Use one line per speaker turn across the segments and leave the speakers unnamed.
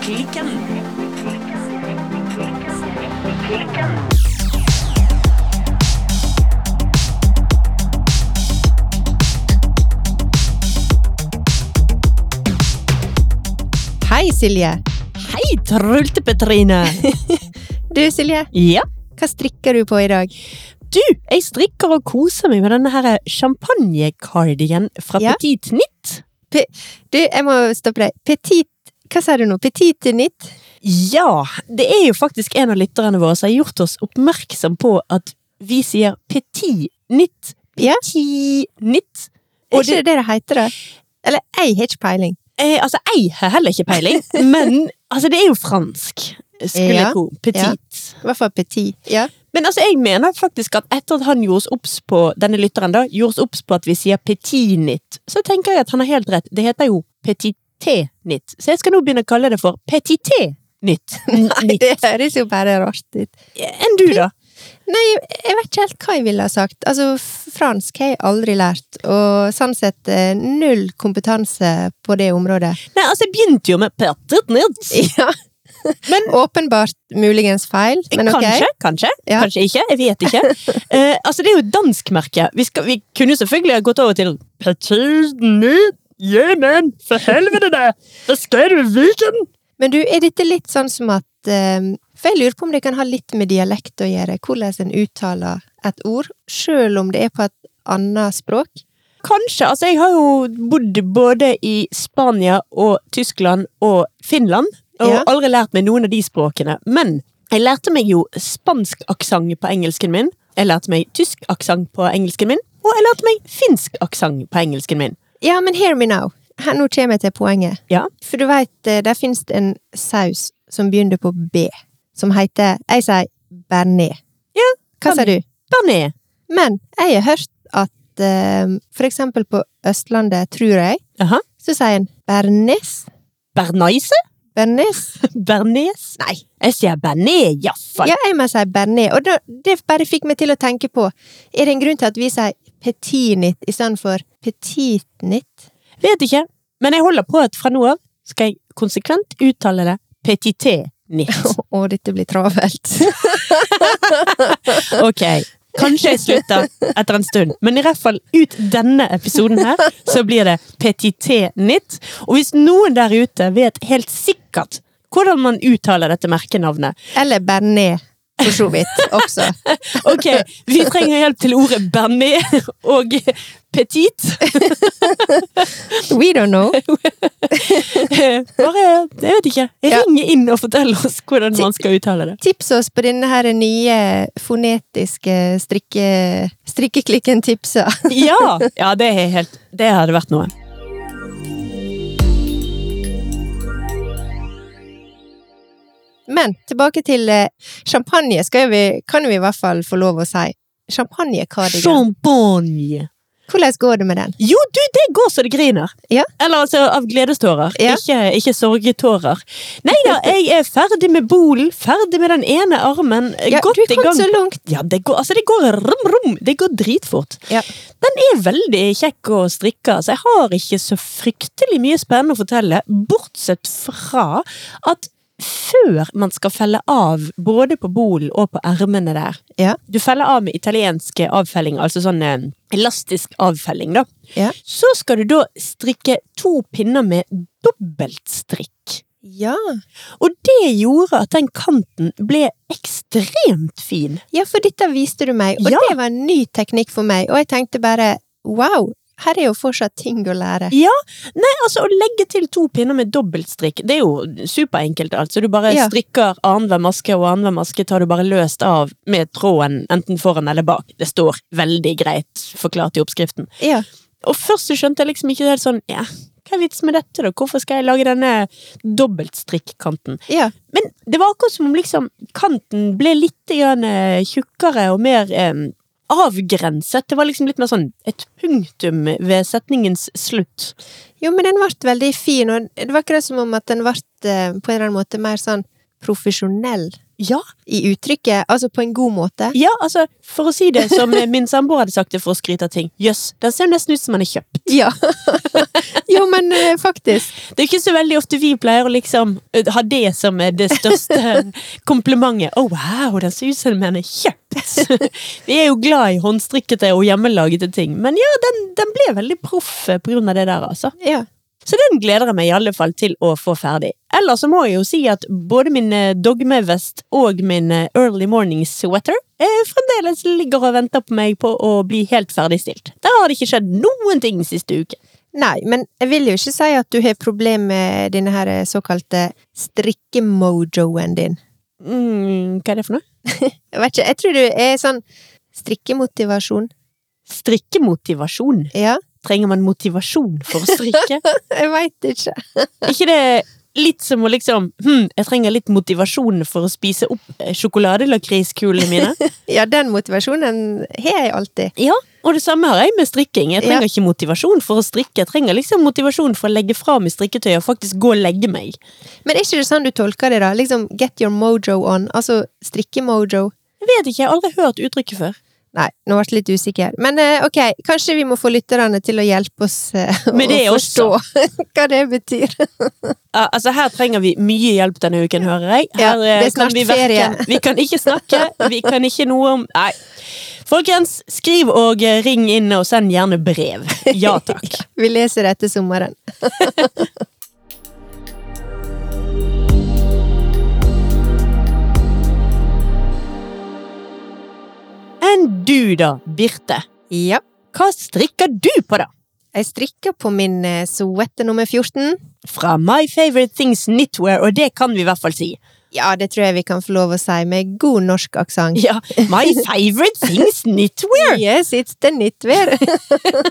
Klikken.
Hei, Silje.
Hei, Trultepetrine!
Du, Silje,
ja,
hva strikker du på i dag?
du, jeg strikker og koser meg med denne her champagne-cardigan fra
Ja.
Petit Nitt.
Du, jeg må stoppe deg. Petit Hva sa du nå? Petit nytt?
Ja, det er jo faktisk en av lytterne våre som har gjort oss oppmerksom på at vi sier Petit Nitt.
Ja.
Petit Nitt.
Er
Og
ikke det det det heter, da? Eller jeg har ikke peiling.
Eh, altså, jeg har heller ikke peiling, men altså, det er jo fransk. Skulle
Ja,
jeg tro. Petit.
I hvert fall petit. Ja.
Men altså, jeg mener faktisk at etter at han gjorde oss obs på denne lytteren da, gjorde oss obs på at vi sier petit nit, så tenker jeg at han har helt rett. Det heter jo petit té nit, så jeg skal nå begynne å kalle det for petit té nit.
Nei, det høres jo bare rart ut.
Enn du, da?
Nei, jeg vet ikke helt hva jeg ville ha sagt. Altså, f- fransk har jeg aldri lært, og sånn sett eh, null kompetanse på det området.
Nei, altså, jeg begynte jo med petit nit.
Ja.
Men-
Åpenbart muligens feil, men ok.
Kanskje, kanskje,
Ja.
kanskje ikke. Jeg vet ikke. Eh, altså, det er jo et danskmerke. Vi, skal, vi kunne jo selvfølgelig ha gått over til Petit Nid. Jemen, for helvete, det! Hva skal du i Viken?
Men du, er dette litt sånn som at eh, For jeg lurer på om det kan ha litt med dialekt å gjøre, hvordan en uttaler et ord, sjøl om det er på et annet språk.
Kanskje. Altså, jeg har jo bodd både i Spania og Tyskland og Finland, og
Ja.
aldri lært meg noen av de språkene. Men jeg lærte meg jo spansk aksent på engelsken min, jeg lærte meg tysk aksent på engelsken min, og jeg lærte meg finsk aksent på engelsken min.
Ja, men hear me now. Her, nå kommer jeg til poenget.
Ja.
For du veit, der fins det en saus som begynner på B, som heter Jeg sier bearnés.
Ja,
Hva
kan-
sier du?
Bernet.
Men jeg har hørt at eh, for eksempel på Østlandet, tror jeg,
Aha.
så sier en bearnés.
Bernaise?
Bearnés.
Bernes? Nei. Jeg sier Bernet, iallfall.
Ja, jeg må si bearnés. Og da, det bare fikk meg til å tenke på Er det en grunn til at vi sier petinit i stedet for petitnit?
Vet ikke. Men jeg holder på at fra nå av skal jeg konsekvent uttale det petité-nitt.
Å, å, dette blir travelt.
Ok, kanskje jeg slutter etter en stund, men i hvert fall ut denne episoden her, så blir det Petité Nitt. Og hvis noen der ute vet helt sikkert hvordan man uttaler dette merkenavnet
Eller bearnés, for så vidt, også.
Ok, vi trenger hjelp til ordet Bernet og Petit.
We don't know.
Bare, jeg vet ikke,
Ja.
ring inn og fortell oss hvordan man skal uttale det.
Tips oss på denne her nye fonetiske strikke, strikkeklikken tipsa.
Ja, ja det, er helt, det hadde vært noe.
Men tilbake til eh, champagne, skal vi, kan vi i hvert fall få lov å si. Champagnekardigan.
Champagne.
Hvordan går det med den?
Jo, du, det går så det griner.
Ja.
Eller altså av gledestårer,
Ja.
ikke, ikke sorgetårer. Nei da, jeg er ferdig med bolen, ferdig med den ene armen. eh,
Ja,
godt
du
i
kom
gang.
så langt.
Ja, det går, altså, det går rom, rom. Det går dritfort.
Ja.
Den er veldig kjekk å strikke. Altså, jeg har ikke så fryktelig mye spennende å fortelle, bortsett fra at før man skal felle av, både på bolen og på ermene der
Ja.
Du feller av med italienske avfelling, altså sånn eh, elastisk avfelling, da.
Ja.
Så skal du da strikke to pinner med dobbeltstrikk.
Ja.
Og det gjorde at den kanten ble ekstremt fin.
ja, for dette viste du meg, og
Ja.
det var en ny teknikk for meg. Og jeg tenkte bare wow, her er jo fortsatt ting å lære.
Ja, nei, altså Å legge til to pinner med dobbeltstrikk det er jo superenkelt. altså. Du bare
Ja.
strikker annenhver maske, og annenhver maske tar du bare løst av med tråden enten foran eller bak. Det står veldig greit forklart i oppskriften.
Ja.
Og først så skjønte jeg liksom ikke helt sånn ja, Hva er vitsen med dette, da? Hvorfor skal jeg lage denne dobbeltstrikkanten?
ja.
Men det var akkurat som om liksom kanten ble litt grann, eh, tjukkere og mer eh, avgrenset. Det var liksom litt mer sånn et punktum ved setningens slutt.
Jo, men den ble veldig fin, og det var akkurat som om at den ble eh, på en eller annen måte mer sånn profesjonell
Ja,
i uttrykket, altså på en god måte.
ja, altså, for å si det som eh, min samboer hadde sagt det for å skryte av ting. Jøss, den ser jo nesten ut som den er kjøpt.
Ja. Jo, men eh, faktisk.
Det er ikke så veldig ofte vi pleier å liksom eh, ha det som er det største komplimentet. Å, wow, den ser ut som den er kjøpt! Vi er jo glad i håndstrikkete og hjemmelagede ting, men ja, den, den ble veldig proff eh, på grunn av det der, altså.
Ja.
Så den gleder jeg meg i alle fall til å få ferdig. Ellers så må jeg jo si at både min eh, dogmevest og min eh, early morning sweater eh, fremdeles ligger og venter på meg på å bli helt ferdigstilt. Der har det ikke skjedd noen ting siste uke.
Nei, men jeg vil jo ikke si at du har problem med denne her eh, såkalte strikkemojoen din.
Mm, hva er det for noe?
Jeg vet ikke, jeg tror du er sånn strikkemotivasjon.
Strikkemotivasjon.
Ja,
Trenger man motivasjon for å strikke?
jeg veit ikke.
ikke det litt som å liksom hm, Jeg trenger litt motivasjon for å spise opp eh, sjokoladelakriskulene mine.
Ja, den motivasjonen har jeg alltid.
Ja, og det samme har jeg med strikking. Jeg trenger
Ja.
ikke motivasjon for å strikke. Jeg trenger liksom motivasjon for å legge fra meg strikketøyet og faktisk gå og legge meg.
Men er ikke det sånn du tolker det, da? Liksom get your mojo on, altså strikkemojo.
Jeg vet ikke, jeg har aldri hørt uttrykket før.
Nei, nå ble jeg litt usikker. Men eh, ok, kanskje vi må få lytterne til å hjelpe oss eh,
Med det
å forstå hva det betyr.
Ja, altså Her trenger vi mye hjelp denne uken, hører jeg.
Ja,
Her, eh,
det er snart
kan vi hverken-
ferie.
Vi kan ikke snakke, vi kan ikke noe om Nei. Folkens, skriv og eh, ring inn, og send gjerne brev. Ja takk.
Vi leser etter sommeren.
Enn du da, Birte?
Ja.
Hva strikker du på, da?
Jeg strikker på min eh, sweater nummer 14.
Fra My Favorite Things Knitwear, og det kan vi i hvert fall si.
Ja, det tror jeg vi kan få lov å si med god norsk aksent.
Ja, My Favorite Things Knitwear!
Yes, it's the knitwear.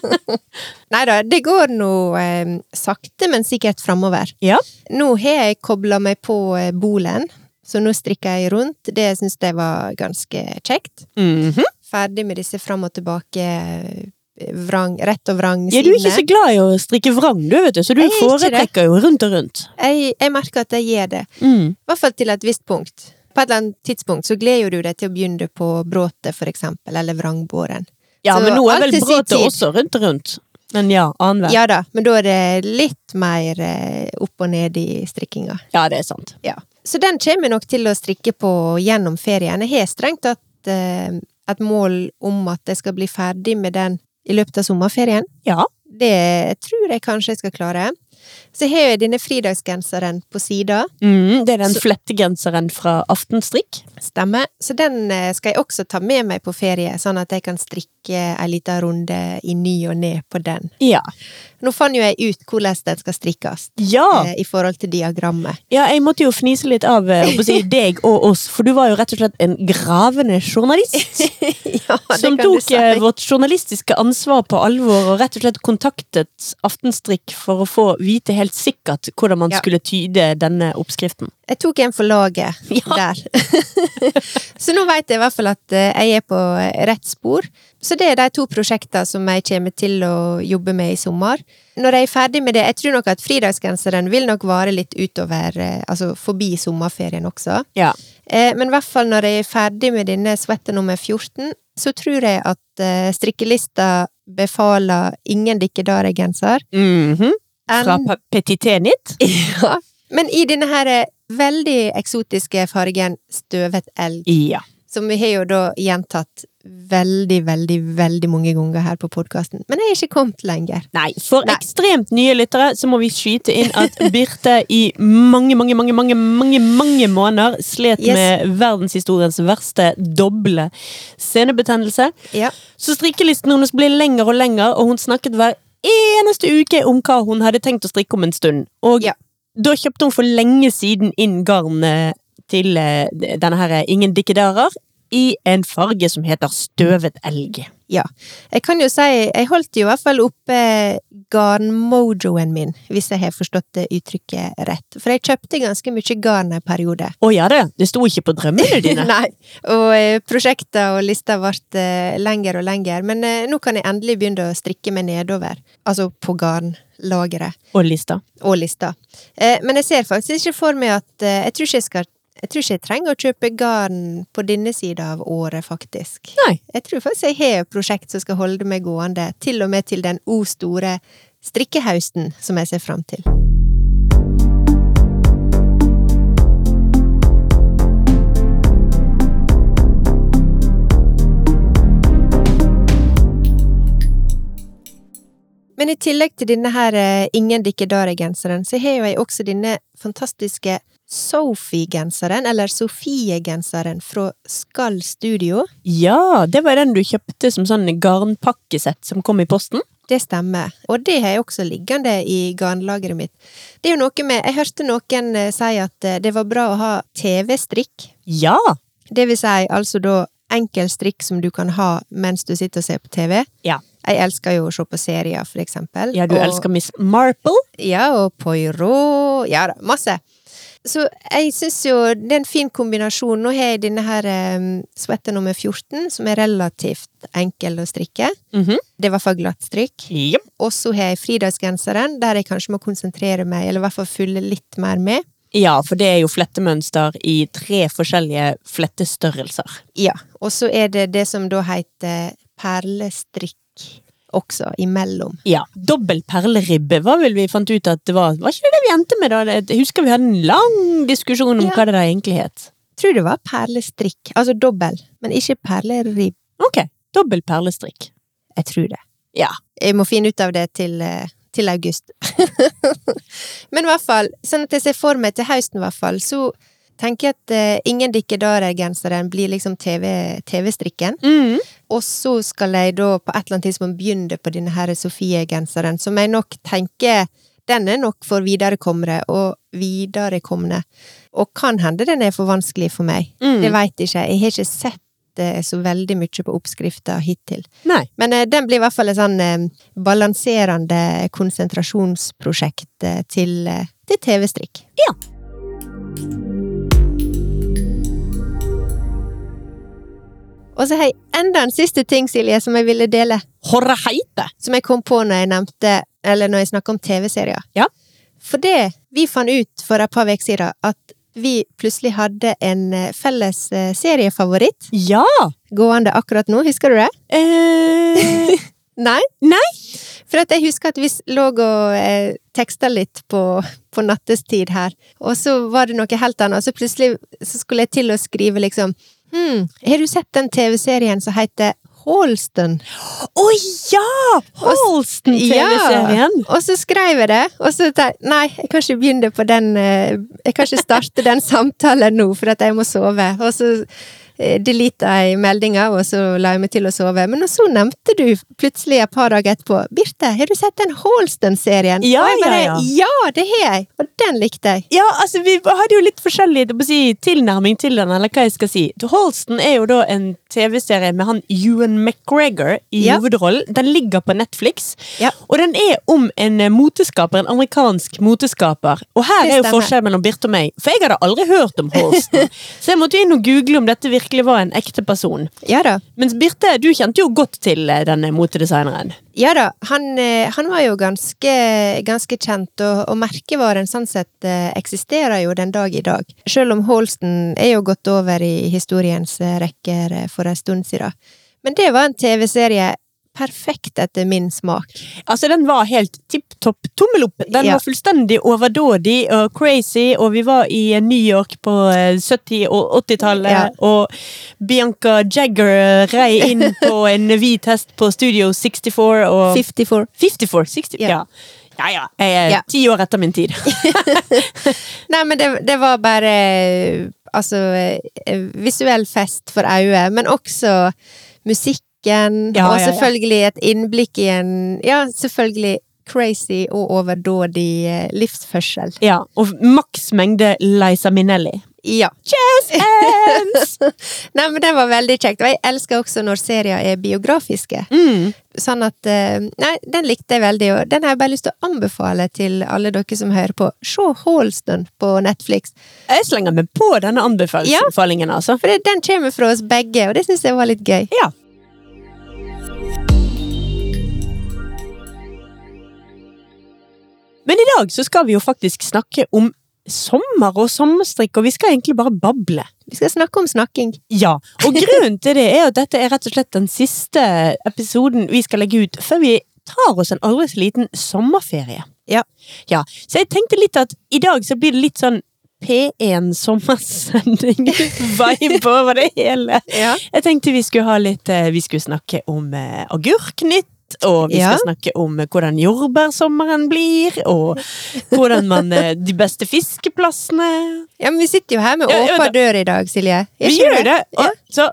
Nei da, det går nå eh, sakte, men sikkert framover.
Ja.
Nå har jeg kobla meg på eh, bolen, så nå strikker jeg rundt. Det syns jeg var ganske kjekt.
Mhm.
Ferdig med disse fram og tilbake, eh, vrang, rett og vrang
Ja, du er ikke så glad i å strikke vrang, du, vet du, så du
Jeg er ikke
foretrekker jo rundt og rundt.
Jeg, jeg merker at jeg gjør det.
Mm.
I hvert fall til et visst punkt. På et eller annet tidspunkt så gleder du deg til å begynne på bråtet, for eksempel, eller vrangbåren.
Ja,
Så
men nå er vel
alt til sin
bråtet
tid.
også rundt og rundt. Men ja, annenhver. Ja.
Ja da, men da er det litt mer eh, opp og ned i strikkinga.
ja, det er sant.
Ja. Så den kommer jeg nok til å strikke på gjennom ferien. Jeg har strengt tatt eh, et mål om at jeg skal bli ferdig med den i løpet av sommerferien.
Ja.
Det tror jeg kanskje jeg skal klare. Så har jeg denne fridagsgenseren på sida.
Mm, det er den
Så-
flettegenseren fra Aftenstrikk.
Stemmer. Så den eh, skal jeg også ta med meg på ferie, sånn at jeg kan strikke ei lita runde i ny og ne på den.
Ja.
Nå fant jo jeg ut hvordan den skal strikkes
Ja.
eh, i forhold til diagrammet.
ja, jeg måtte jo fnise litt av eh, holdt på å si, deg og oss, for du var jo rett og slett en gravende journalist.
ja, det
Som
kan du
tok
si.
eh, vårt journalistiske ansvar på alvor og rett og slett kontaktet Aftenstrikk for å få vite helt sikkert hvordan man
Ja.
skulle tyde denne oppskriften.
Jeg tok en for laget der. så nå vet jeg i hvert fall at eh, jeg er på eh, rett spor. Så det er de to prosjektene som jeg kommer til å jobbe med i sommer. Når jeg er ferdig med det, jeg tror nok at fridagsgenseren vil nok vare litt utover, eh, altså forbi sommerferien også.
Ja.
Eh, Men i hvert fall når jeg er ferdig med denne sweater nummer 14, så tror jeg at eh, strikkelista befaler ingen dikkedaregenser.
Mhm. Fra
Enn-
pa- Petit Tenit?
Ja. Men i denne her eh, veldig eksotiske fargen støvet elg,
Ja.
som vi har jo da gjentatt veldig, veldig, veldig mange ganger her på podkasten. Men jeg er ikke kommet lenger.
Nei, for
Nei.
ekstremt nye lyttere så må vi skyte inn at Birte i mange, mange, mange, mange, mange, mange måneder slet
Yes.
med verdenshistoriens verste doble senebetennelse.
Ja.
Så strikkelisten hennes ble lengre og lengre, og hun snakket hver eneste uke om hva hun hadde tenkt å strikke om en stund. Og
Ja.
da kjøpte hun for lenge siden inn garn eh, til eh, denne her Ingen dikkedarer i en farge som heter støvet elg.
Ja. Jeg kan jo si, jeg holdt jo i hvert fall oppe garnmojoen min, hvis jeg har forstått det uttrykket rett. For jeg kjøpte ganske mye garn en periode.
Å ja, det. Det sto ikke på drømmene dine.
Nei. Og eh, prosjekter og lister ble eh, lengre og lengre. Men eh, nå kan jeg endelig begynne å strikke meg nedover. Altså på garnlageret
Og lista.
og lista. Eh, Men jeg ser faktisk ikke for meg at eh, Jeg tror ikke jeg skal jeg tror ikke jeg trenger å kjøpe garn på denne sida av året, faktisk.
Nei.
Jeg tror faktisk jeg har et prosjekt som skal holde meg gående, til og med til den o store strikkehausten som jeg ser fram til. Men i tillegg til denne her eh, Ingen dikkedare-genseren, så har jo jeg også denne fantastiske Sophie-genseren, eller Sofie-genseren fra Skall Studio.
Ja, det var den du kjøpte som sånn garnpakkesett som kom i posten.
Det stemmer, og det har jeg også liggende i garnlageret mitt. Det er jo noe med Jeg hørte noen eh, si at eh, det var bra å ha TV-strikk.
Ja!
Det vil si altså da enkel strikk som du kan ha mens du sitter og ser på TV.
Ja.
Jeg elsker jo å se på serier, for eksempel.
Ja, du
og,
elsker Miss Marple.
Ja, og Poirot. Ja da, masse. Så jeg syns jo det er en fin kombinasjon. Nå har jeg denne her um, sweater nummer 14, som er relativt enkel å strikke.
Mhm.
Det er i hvert fall glatt strikk.
Jep.
Og så har jeg fridagsgenseren, der jeg kanskje må konsentrere meg, eller i hvert fall fylle litt mer med.
Ja, for det er jo flettemønster i tre forskjellige flettestørrelser.
Ja, Og så er det det som da heter perlestrikk også, imellom.
Ja, Dobbel perleribbe hva vel vi fant ut at det var. Var ikke det det vi endte med, da? Jeg husker vi hadde en lang diskusjon om
Ja.
hva det der egentlig het.
Tror det var perlestrikk, altså dobbel, men ikke perleribb.
Ok, dobbel perlestrikk.
Jeg tror det.
Ja.
Jeg må finne ut av det til, eh, til august. men i hvert fall, sånn at jeg ser for meg til høsten, i hvert fall, så tenker jeg at eh, ingen dikkedarer-genseren blir liksom TV TV-strikken.
Mm.
Og så skal jeg da på et eller annet tidspunkt begynne på denne her Sofie-genseren, som jeg nok tenker den er nok for viderekommere og viderekomne. Og kan hende den er for vanskelig for meg.
Mm.
Det veit ikke jeg. Jeg har ikke sett eh, så veldig mye på oppskrifta hittil.
Nei.
Men eh, den blir i hvert fall et sånn eh, balanserende konsentrasjonsprosjekt eh, til, eh, til TV-strikk.
Ja.
Og så har jeg enda en siste ting, Silje, som jeg ville dele.
Horre heite.
Som jeg kom på når jeg nevnte, eller når jeg snakka om TV-serier.
Ja.
For det vi fant ut for et par uker siden, at vi plutselig hadde en eh, felles eh, seriefavoritt
Ja!
gående akkurat nå. Husker du det?
Eh,
Nei.
Nei?
For at jeg husker at vi s- lå og eh, teksta litt på, på nattestid her, og så var det noe helt annet, og så plutselig så skulle jeg til å skrive liksom Hm, har du sett den TV-serien som heter Halston?
Å ja! Holsten-TV-serien.
Og så skrev jeg det, og så tenkte jeg nei, jeg kan ikke begynne på den eh, Jeg kan ikke starte den samtalen nå, for at jeg må sove. Og så eh, deleta jeg meldinga, og så la jeg meg til å sove. Men så nevnte du plutselig et par dager etterpå Birte, har du sett den Holsten-serien?
Ja,
og jeg bare,
ja,
ja. det har jeg! Og den likte jeg.
Ja, altså Vi hadde jo litt forskjellig det må jeg si, tilnærming til den. eller hva jeg skal si. Holsten er jo da en TV-serie med han Ewan McGregor i
Ja.
hovedrollen. Den ligger på Netflix.
Ja.
Og den er om en eh, moteskaper, en amerikansk moteskaper. Og her
Det
er jo
stemmer.
forskjellen mellom Birte og meg, for jeg hadde aldri hørt om Holsten. Så jeg måtte jo inn og google om dette virkelig var en ekte person.
Ja da.
Mens Birte, du kjente jo godt til eh, denne motedesigneren.
Ja da, han, eh, han var jo ganske, ganske kjent, og, og merkevaren sånn sett eh, eksisterer jo den dag i dag. Selv om Holsten er jo gått over i historiens eh, rekker eh, for en stund siden. Men det var en TV-serie perfekt etter min smak.
Altså, den var helt tipp topp tommel opp. Den
Ja.
var fullstendig overdådig og crazy, og vi var i eh, New York på eh, 70- og 80-tallet,
Ja.
og Bianca Jagger eh, rei inn på en hvit hest på Studio 64 og
54.
54, 60,
Ja.
ja. Ja, ja. Jeg er
Ja.
ti år etter min tid.
Nei, men det, det var bare eh, Altså, eh, visuell fest for øyet, men også musikken,
Ja, ja,
og
ja.
selvfølgelig et innblikk i en Ja, selvfølgelig crazy og overdådig eh, livsførsel.
Ja, og maks mengde Liza Minnelli.
Ja.
Hands!
Nei, men det var veldig kjekt. Og jeg elsker også når serier er biografiske.
Mm.
Sånn at eh, Nei, den likte jeg veldig, og den har jeg bare lyst til å anbefale til alle dere som hører på. Se Holston på Netflix.
Jeg slenger meg på denne
Ja.
anbefalingen, altså.
For det, den kommer fra oss begge, og det syns jeg var litt gøy.
Ja. Men i dag så skal vi jo faktisk snakke om sommer og sommerstrikk, og vi skal egentlig bare bable.
Vi skal snakke om snakking.
Ja, og grunnen til det er at dette er rett og slett den siste episoden vi skal legge ut før vi tar oss en aldri så liten sommerferie.
Ja.
Ja, Så jeg tenkte litt at i dag så blir det litt sånn P1 sommersending-vibe over det hele.
Ja.
Jeg tenkte vi skulle ha litt eh, Vi skulle snakke om eh, agurknytt. Og vi skal
Ja.
snakke om eh, hvordan jordbærsommeren blir, og hvordan man eh, De beste fiskeplassene.
ja, men vi sitter jo her med
Ja, ja,
åpen
da-
dør i dag, Silje.
Vi
Ikke
gjør det!
Ja.
Og, så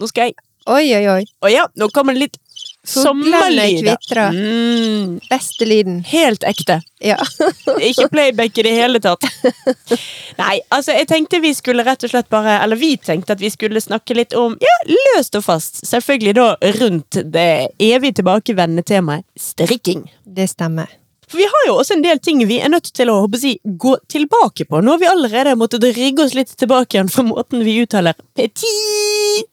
nå skal jeg
Oi, oi, oi.
Å ja, nå kommer det litt
Fuglene
sommerlyder.
kvitrer.
Mm,
Beste lyden.
helt ekte.
Ja.
Ikke playback i det hele tatt. Nei, altså jeg tenkte vi skulle rett og slett bare Eller vi tenkte at vi skulle snakke litt om Ja, løst og fast. Selvfølgelig da rundt det evig tilbakevendende temaet strikking.
Det stemmer.
For vi har jo også en del ting vi er nødt til å håper jeg, gå tilbake på. Nå har vi allerede måttet rigge oss litt tilbake igjen fra måten vi uttaler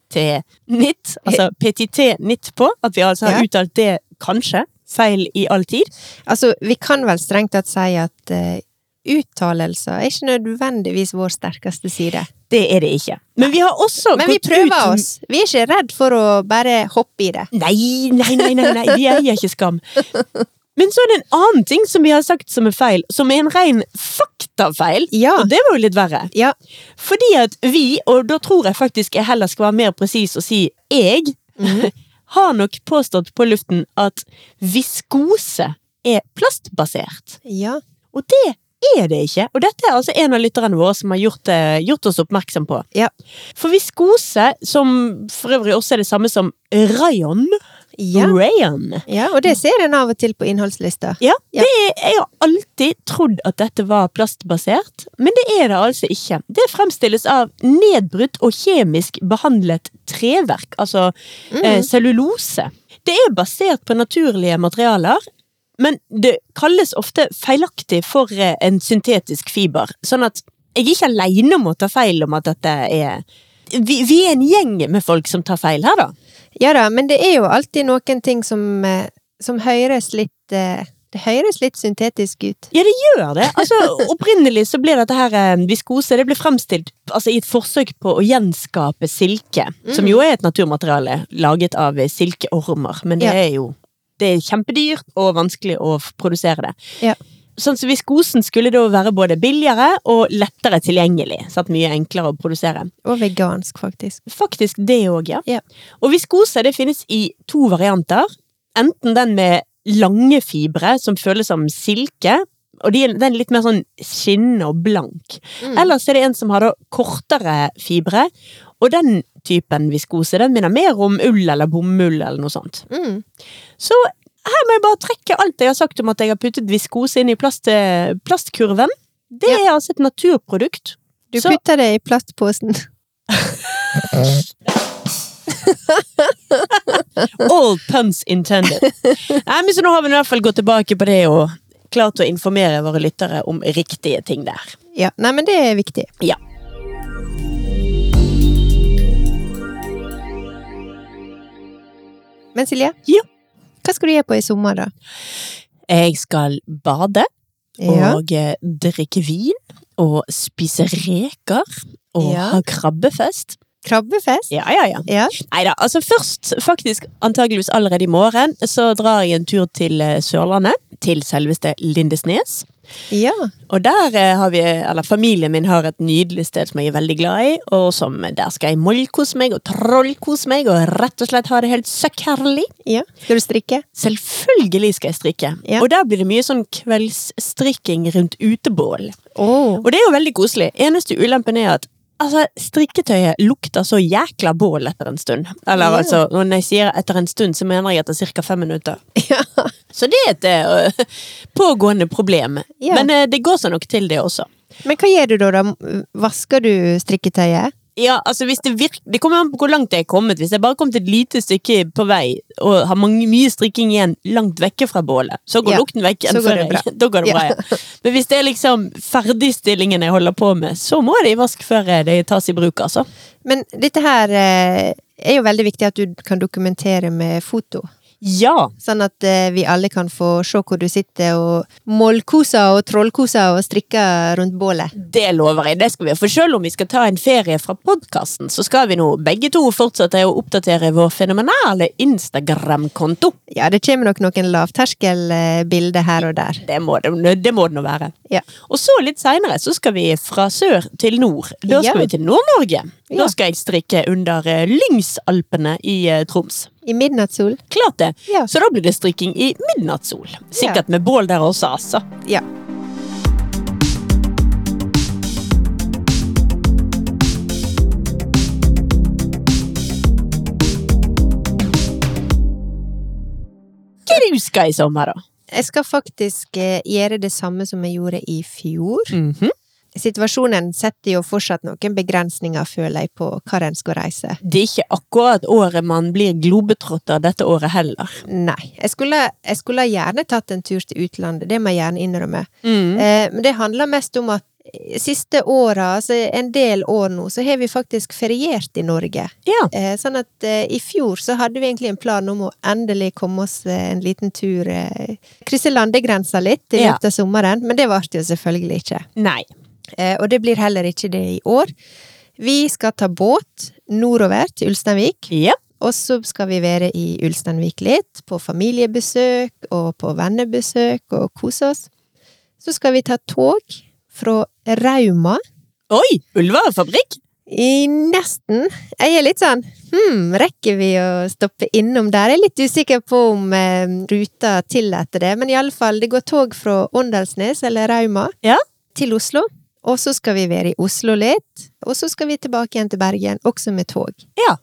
petit-nitt, altså petit-nitt på. At vi altså har
Ja.
uttalt det kanskje feil i all tid.
Altså, vi kan vel strengt tatt si at eh, uttalelser er ikke nødvendigvis vår sterkeste side.
Det er det ikke. Men vi har også
Men vi
gått ut
prøver oss. Vi er ikke redd for å bare hoppe i det.
Nei, nei, nei, nei, nei. vi eier ikke skam. Men så er det en annen ting som vi har sagt som er feil, som er en ren faktafeil.
Ja.
Og det var jo litt verre.
Ja.
Fordi at vi, og da tror jeg faktisk jeg heller skal være mer presis og si jeg,
Mhm.
har nok påstått på luften at viskose er plastbasert.
Ja.
Og det er det ikke. Og dette er altså en av lytterne våre som har gjort, det- gjort oss oppmerksom på.
Ja.
For viskose, som for øvrig også er det samme som rayon,
ja.
Mm. rayon
ja. Og det ser en av og til på innholdslista.
Ja,
Ja.
Det, jeg har alltid trodd at dette var plastbasert, men det er det altså ikke. Det fremstilles av nedbrutt og kjemisk behandlet treverk, altså eh, cellulose. Det er basert på naturlige materialer, men det kalles ofte feilaktig for eh, en syntetisk fiber. Sånn at jeg er ikke alene om å ta feil om at dette er vi, vi er en gjeng med folk som tar feil her, da.
Ja da, men det er jo alltid noen ting som, eh, som høres litt eh, Det høres litt syntetisk ut.
Ja, det gjør det. Altså, opprinnelig så ble dette her eh, viskose det ble fremstilt altså, i et forsøk på å gjenskape silke, som
Mm.
jo er et naturmateriale laget av eh, silkeormer, men det
Ja.
er jo det er kjempedyrt og vanskelig å f- produsere det.
Ja.
Sånn så Viskosen skulle da være både billigere og lettere tilgjengelig. Sånn, mye enklere å produsere.
Og vegansk, faktisk.
Faktisk det òg, ja.
Ja.
Og viskose det finnes i to varianter. Enten den med lange fibre som føles som silke, og de, den er litt mer sånn skinnende og blank.
Mm.
Ellers er det en som har da kortere fibre, og den typen viskose den minner mer om ull eller bomull eller noe sånt.
Mm.
Så her må jeg bare trekke alt jeg har sagt om at jeg har puttet viskose inn i plast, eh, plastkurven. Det er altså et naturprodukt.
Du
Så-
putter det i plastposen.
All puns intended. Nei, men Så nå har vi i hvert fall gått tilbake på det og klart å informere våre lyttere om riktige ting der.
Ja. Nei, men det er viktig.
Ja.
Men Silje,
Ja.
hva skal du gjøre på i sommer, da?
Jeg skal bade
Ja.
og eh, drikke vin og spise reker og
Ja.
ha krabbefest.
Krabbefest?
Ja, ja, ja.
Ja.
Nei da, altså først, faktisk antageligvis allerede i morgen, så drar jeg en tur til eh, Sørlandet. Til selveste Lindesnes.
ja.
Og der eh, har vi, eller familien min har et nydelig sted som jeg er veldig glad i, og som eh, der skal jeg mollkose meg og trollkose meg og rett og slett ha det helt søkkherlig.
ja. Skal du strikke?
Selvfølgelig skal jeg strikke,
Ja.
og der blir det mye sånn kveldsstrikking rundt utebål.
Oh.
Og det er jo veldig koselig. Eneste ulempen er at altså, strikketøyet lukter så jækla bål etter en stund. Eller
Ja.
altså, når jeg sier etter en stund, så mener jeg etter ca. fem minutter.
Ja.
Så det er et eh, pågående problem.
Ja.
Men eh, det går seg nok til, det også.
Men hva gjør du da, da? Vasker du strikketøyet?
Ja, altså hvis det virker Det kommer an på hvor langt jeg er kommet. Hvis jeg bare kom til et lite stykke på vei og har mange, mye strikking igjen langt vekke fra bålet, så går
Ja,
lukten vekk. igjen
så går
før
det
jeg- da går det
Ja.
bra. Ja. Men hvis det er liksom ferdigstillingen jeg holder på med, så må det i vask før eh, det tas i bruk, altså.
Men dette her eh, er jo veldig viktig at du kan dokumentere med foto.
Ja!
Sånn at eh, vi alle kan få se hvor du sitter og målkoser og trollkoser og strikker rundt bålet.
Det lover jeg. det skal vi. For selv om vi skal ta en ferie fra podkasten, så skal vi nå begge to fortsette å oppdatere vår fenomenale Instagram-konto.
Ja, det kommer nok noen lavterskelbilder her og der.
Det må det, det må det nå være.
Ja.
Og så litt seinere så skal vi fra sør til nord. Da skal
Ja.
vi til Nord-Norge.
Ja.
Da skal jeg strikke under eh, Lyngsalpene i eh, Troms.
I midnattssol.
Klart det.
Ja.
Så da blir det strikking i midnattssol. Sikkert med bål der også, altså.
ja.
Hva er det du skal i sommer, da?
Jeg skal faktisk eh, gjøre det samme som jeg gjorde i fjor. Situasjonen setter jo fortsatt noen begrensninger, føler jeg, på hvor en skal reise.
Det er ikke akkurat året man blir globetrotter dette året heller.
Nei. Jeg skulle, jeg skulle gjerne tatt en tur til utlandet, det må jeg gjerne innrømme.
Mm.
Eh, men det handler mest om at eh, siste åra, altså en del år nå, så har vi faktisk feriert i Norge.
Ja.
Eh, sånn at eh, i fjor så hadde vi egentlig en plan om å endelig komme oss eh, en liten tur eh, Krysse landegrensa litt i
Ja.
løpet av sommeren, men det ble jo selvfølgelig ikke.
Nei.
Eh, og det blir heller ikke det i år. Vi skal ta båt nordover til Ulsteinvik.
Ja.
Og så skal vi være i Ulsteinvik litt, på familiebesøk og på vennebesøk og kose oss. Så skal vi ta tog fra Rauma
Oi! Ulvefabrikk!
i nesten. Jeg er litt sånn Hm, rekker vi å stoppe innom der? Jeg er litt usikker på om eh, ruta tillater det, men iallfall, det går tog fra Åndalsnes eller Rauma
Ja.
til Oslo. Og så skal vi være i Oslo litt, og så skal vi tilbake igjen til Bergen, også med tog.
Ja.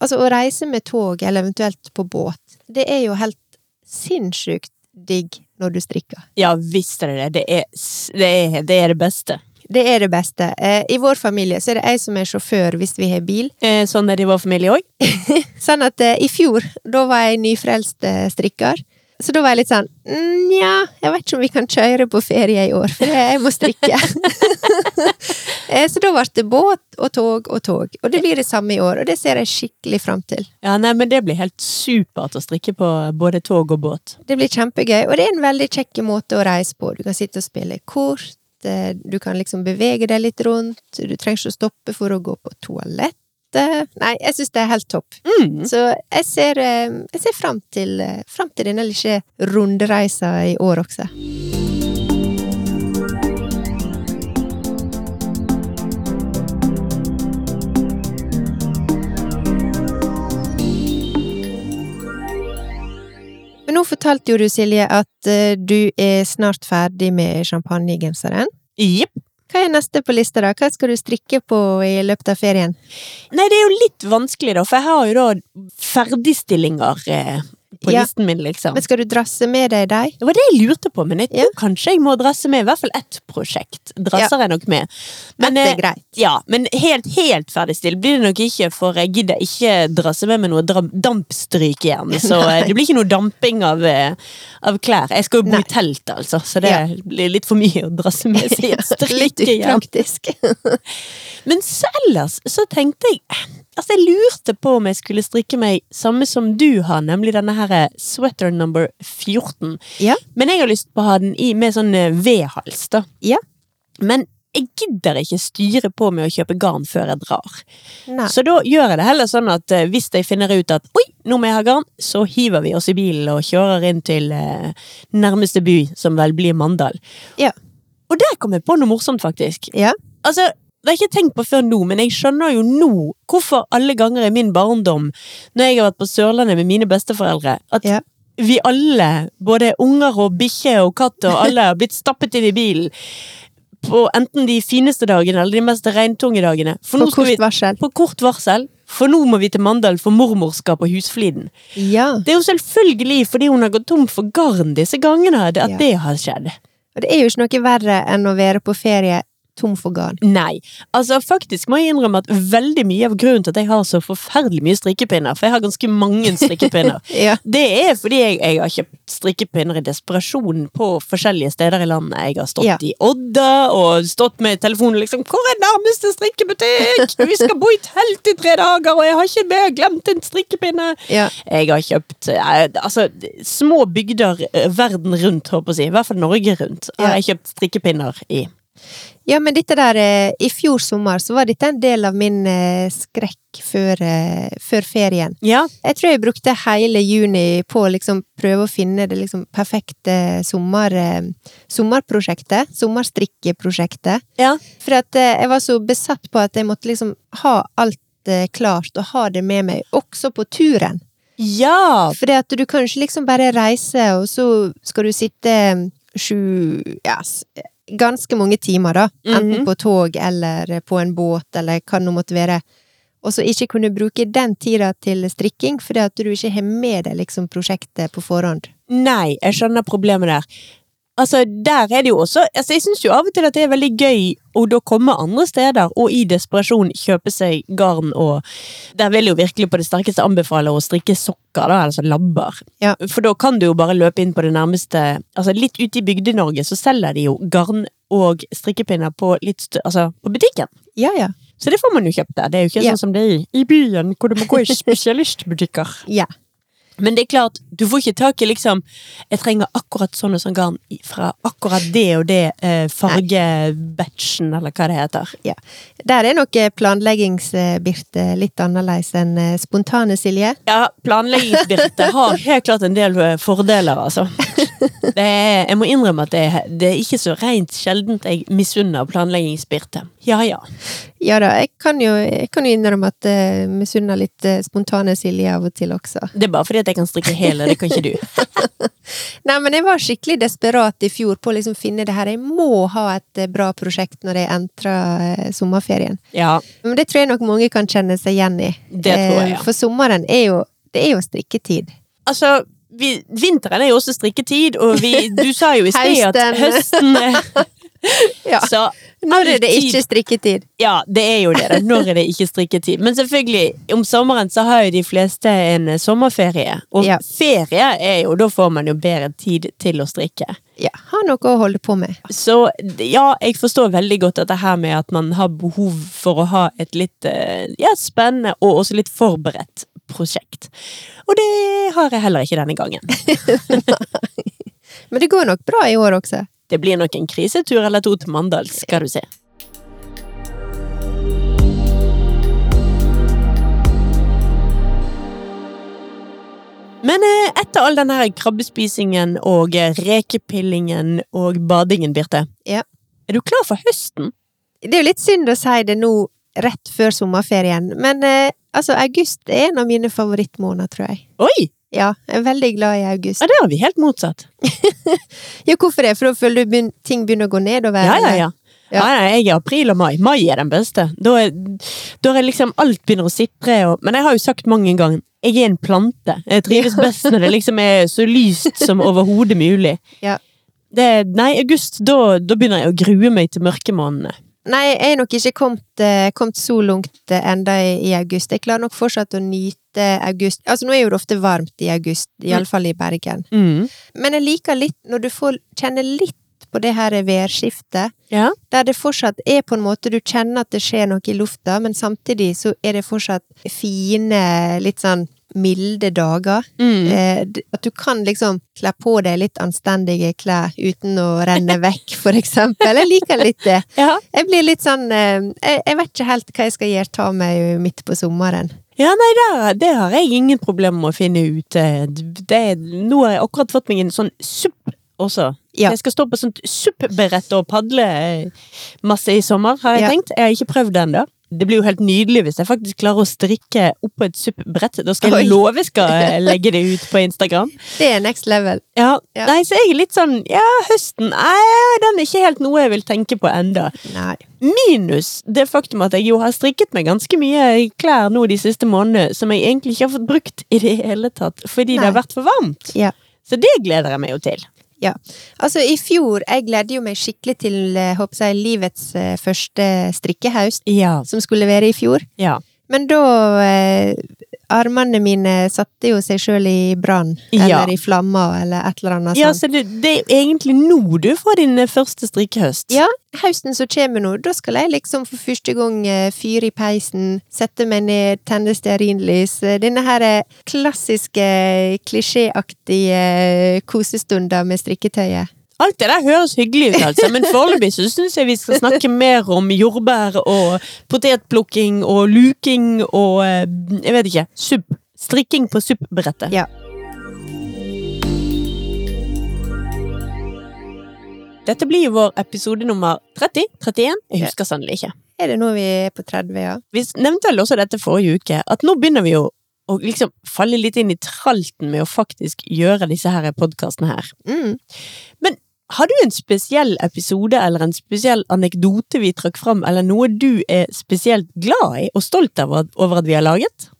Altså, å reise med tog, eller eventuelt på båt, det er jo helt sinnssykt digg når du strikker.
Ja visst er det det. Det er s- det, er, det, er det beste.
Det er det beste. Eh, I vår familie så er det jeg som er sjåfør hvis vi har bil.
Eh, sånn er det i vår familie òg.
Sånn at eh, i fjor, da var jeg nyfrelst eh, strikker. Så da var jeg litt sånn Nja, jeg vet ikke om vi kan kjøre på ferie i år, for jeg må strikke. Eh, så da ble det båt og tog og tog. Og det blir det samme i år, og det ser jeg skikkelig fram til.
Ja, nei, men det blir helt supert å strikke på både tog og båt.
Det blir kjempegøy, og det er en veldig kjekk måte å reise på. Du kan sitte og spille kort, eh, du kan liksom bevege deg litt rundt, du trenger ikke å stoppe for å gå på toalettet. Nei, jeg syns det er helt topp.
Mm.
Så jeg ser, eh, jeg ser fram til, eh, fram til denne lille rundreisa i år også. Men nå fortalte jo du, Silje, at eh, du er snart ferdig med champagnegenseren.
Jepp.
Hva er neste på lista, da? Hva skal du strikke på i løpet av ferien?
Nei, det er jo litt vanskelig, da, for jeg har jo da ferdigstillinger eh, på
Ja.
listen min, liksom.
Men skal du drasse med deg de?
Det var det jeg lurte på, men jeg tror
Ja.
kanskje jeg må drasse med. I hvert fall ett prosjekt drasser jeg nok med. Men,
At det
eh,
er greit.
ja, men helt, helt ferdigstilt blir det nok ikke, for jeg gidder ikke drasse med meg noe dram- dampstrykejern. Så eh, det blir ikke noe damping av, eh, av klær. Jeg skal jo bo
Nei.
i telt, altså, så det
Ja.
blir litt for mye å drasse med seg i et
Litt
strykejern.
upraktisk.
Men så ellers så tenkte jeg Altså, jeg lurte på om jeg skulle strikke meg samme som du har, nemlig denne her eh, sweater number 14.
ja.
Men jeg har lyst på å ha den i med sånn eh, V-hals, da.
Ja.
Men jeg gidder ikke styre på med å kjøpe garn før jeg drar.
Nei.
Så da gjør jeg det heller sånn at eh, hvis jeg finner ut at oi, nå må jeg ha garn, så hiver vi oss i bilen og kjører inn til eh, nærmeste by, som vel blir Mandal.
Ja.
Og der kom jeg på noe morsomt, faktisk.
ja.
Altså, det har jeg ikke tenkt på før nå, men jeg skjønner jo nå hvorfor alle ganger i min barndom, når jeg har vært på Sørlandet med mine besteforeldre, at
Ja.
vi alle, både unger og bikkje og katt og alle, har blitt stappet inn i bilen på enten de fineste dagene eller de mest regntunge dagene. For
På
nå skal
kort
vi
varsel.
på kort varsel, for nå må vi til Mandal for mormor skal på husfliden.
Ja.
Det er jo selvfølgelig fordi hun har gått tom for garn disse gangene at
Ja.
det har skjedd.
Og det er jo ikke noe verre enn å være på ferie tom for garn.
Nei. Altså, faktisk må jeg innrømme at veldig mye av grunnen til at jeg har så forferdelig mye strikkepinner, for jeg har ganske mange strikkepinner,
Ja.
det er fordi jeg, jeg har kjøpt strikkepinner i desperasjon på forskjellige steder i landet. Jeg har stått
Ja.
i Odda og stått med telefonen liksom 'Hvor er nærmeste strikkebutikk?' 'Vi skal bo i telt i tre dager, og jeg har ikke med, glemt en strikkepinne'.
Ja.
Jeg har kjøpt eh, altså, små bygder eh, verden rundt, håper jeg å si. I hvert fall Norge rundt.
Ja.
Har jeg kjøpt strikkepinner i.
ja, men dette der eh, I fjor sommer så var dette en del av min eh, skrekk før, eh, før ferien.
Ja.
Jeg tror jeg brukte hele juni på å liksom prøve å finne det liksom perfekte sommer, eh, sommerprosjektet. Sommerstrikkeprosjektet.
ja.
For at eh, jeg var så besatt på at jeg måtte liksom ha alt eh, klart, og ha det med meg, også på turen.
Ja!
For at du kan ikke liksom bare reise, og så skal du sitte eh, sju ja, s- eh, ganske mange timer, da. Enten
Mhm.
på tog eller på en båt, eller hva det nå måtte være. Og så ikke kunne bruke den tida til strikking, fordi at du ikke har med deg liksom prosjektet på forhånd.
Nei, jeg skjønner problemet der. Altså, der er det jo også altså, Jeg syns jo av og til at det er veldig gøy å da komme andre steder og i desperasjon kjøpe seg garn og Der vil jeg jo virkelig på det sterkeste anbefale å strikke sokker, da, altså labber.
Ja.
For da kan du jo bare løpe inn på det nærmeste Altså litt ute i Bygde-Norge så selger de jo garn og strikkepinner på litt stø... Altså, på butikken.
Ja, ja.
Så det får man jo kjøpt der. Det er jo ikke
Ja.
sånn som det er i, i byen, hvor du må gå i spesialistbutikker.
Ja.
Men det er klart, du får ikke tak i liksom Jeg trenger akkurat sånn og sånn garn i- fra akkurat det og det eh, fargebatchen, eller hva det heter.
ja. Der er nok eh, planleggingsbirte litt annerledes enn eh, spontane Silje.
Ja, planleggingsbirte har helt klart en del eh, fordeler, altså. Det er, jeg må innrømme at det er, det er ikke så rent sjeldent jeg misunner planleggingsbirte. Ja ja.
Ja da, jeg kan jo, jeg kan jo innrømme at jeg misunner litt eh, spontane Silje av og til også.
Det er bare fordi at jeg kan strikke hele, det kan ikke du.
Nei, men jeg var skikkelig desperat i fjor på å liksom finne det her. Jeg må ha et eh, bra prosjekt når jeg entrer eh, sommerferien.
Ja,
Men det tror jeg nok mange kan kjenne seg igjen i.
Det tror jeg,
Eh,
ja.
For sommeren er jo, det er jo strikketid.
altså vi, Vinteren er jo også strikketid, og vi, du sa jo i sted at høsten
Høsten.
er-
Ja.
Så
Når er det
alltid-
ikke strikketid?
Ja, det er jo det. da. Når er det ikke strikketid? Men selvfølgelig, om sommeren så har jo de fleste en eh, sommerferie. Og
Ja.
ferie er jo Da får man jo bedre tid til å strikke.
Ja, ha noe å holde på med.
Så d- ja, jeg forstår veldig godt dette her med at man har behov for å ha et litt eh, ja, spennende og også litt forberedt prosjekt. Og det har jeg heller ikke denne gangen.
Men det går nok bra i år også.
Det blir nok en krisetur eller to til Mandal, skal du se. Men eh, etter all denne her krabbespisingen og eh, rekepillingen og badingen, Birte,
Ja.
er du klar for høsten?
Det er jo litt synd å si det nå rett før sommerferien, men eh, altså, august er en av mine favorittmåneder, tror jeg.
Oi!
Ja, jeg er veldig glad i august.
Ja, der er vi helt motsatt.
Ja, hvorfor det? For da føler du begyn ting begynner å gå nedover?
Ja, ja,
eller?
ja. Ja, nei, jeg er april og mai. Mai er den beste. Da er, da er liksom alt begynner å sitre. Og, men jeg har jo sagt mange ganger jeg er en plante. Jeg trives best når det liksom er så lyst som overhodet mulig.
Ja.
Det, nei, august, da, da begynner jeg å grue meg til mørkemånedene.
Nei, jeg er nok ikke kommet, eh, kommet så langt eh, enda i, i august. Jeg klarer nok fortsatt å nyte august. Altså, nå er jo det ofte varmt i august, iallfall i Bergen.
Mm.
Men jeg liker litt når du får kjenne litt på det her værskiftet,
Ja.
der det fortsatt er på en måte du kjenner at det skjer noe i lufta, men samtidig så er det fortsatt fine, litt sånn milde dager.
Mm.
Eh, d- At du kan liksom kle på deg litt anstendige klær uten å renne vekk, for eksempel. Jeg liker litt det.
ja.
Jeg blir litt sånn eh, Jeg, jeg vet ikke helt hva jeg skal gjøre ta meg midt på sommeren.
Ja, nei, der, det har jeg ingen problemer med å finne ut. eh, Det, nå har jeg akkurat fått meg en sånn SUP også.
Ja.
Jeg skal stå på sånt SUP-berett og padle eh, masse i sommer, har jeg
Ja.
tenkt. Jeg har ikke prøvd det ennå. Det blir jo helt nydelig hvis jeg faktisk klarer å strikke oppå et SUP-brett. Da skal jeg
Oi.
love jeg skal eh, legge det ut på Instagram.
Det er next level.
Ja,
Ja.
Nei, så jeg er litt sånn Ja, høsten nei, Den er ikke helt noe jeg vil tenke på enda
Nei.
Minus det faktum at jeg jo har strikket meg ganske mye klær nå de siste månedene som jeg egentlig ikke har fått brukt i det hele tatt, fordi det
Nei.
har vært for varmt.
Ja.
Så det gleder jeg meg jo til.
Ja. Altså, i fjor Jeg gledde jo meg skikkelig til eh, håper jeg, livets eh, første strikkehaust,
Ja.
som skulle være i fjor.
ja.
Men da eh, Armene mine satte jo seg sjøl i brann,
Ja.
eller i flammer, eller et eller annet
ja
sånt.
så du, det er egentlig nå du får din eh, første strikkehøst.
Ja, høsten som kommer nå, da skal jeg liksom for første gang eh, fyre i peisen, sette meg ned, tenne stearinlys. Eh, Denne her eh, klassiske, eh, klisjéaktige eh, kosestunder med strikketøyet.
Alt det der høres hyggelig ut, altså, men foreløpig så syns jeg vi skal snakke mer om jordbær og potetplukking og luking og eh, jeg vet ikke, supp. Strikking på SUP-brettet.
Ja.
Dette blir jo vår episode nummer 30? 31? Jeg husker sannelig ikke.
Er det nå vi er på 30, ja?
Vi nevnte vel også dette forrige uke, at nå begynner vi jo å liksom falle litt inn i tralten med å faktisk gjøre disse her podkastene her.
Mm.
Har du en spesiell episode eller en spesiell anekdote vi trakk fram, eller noe du er spesielt glad i og stolt over, over at vi har laget?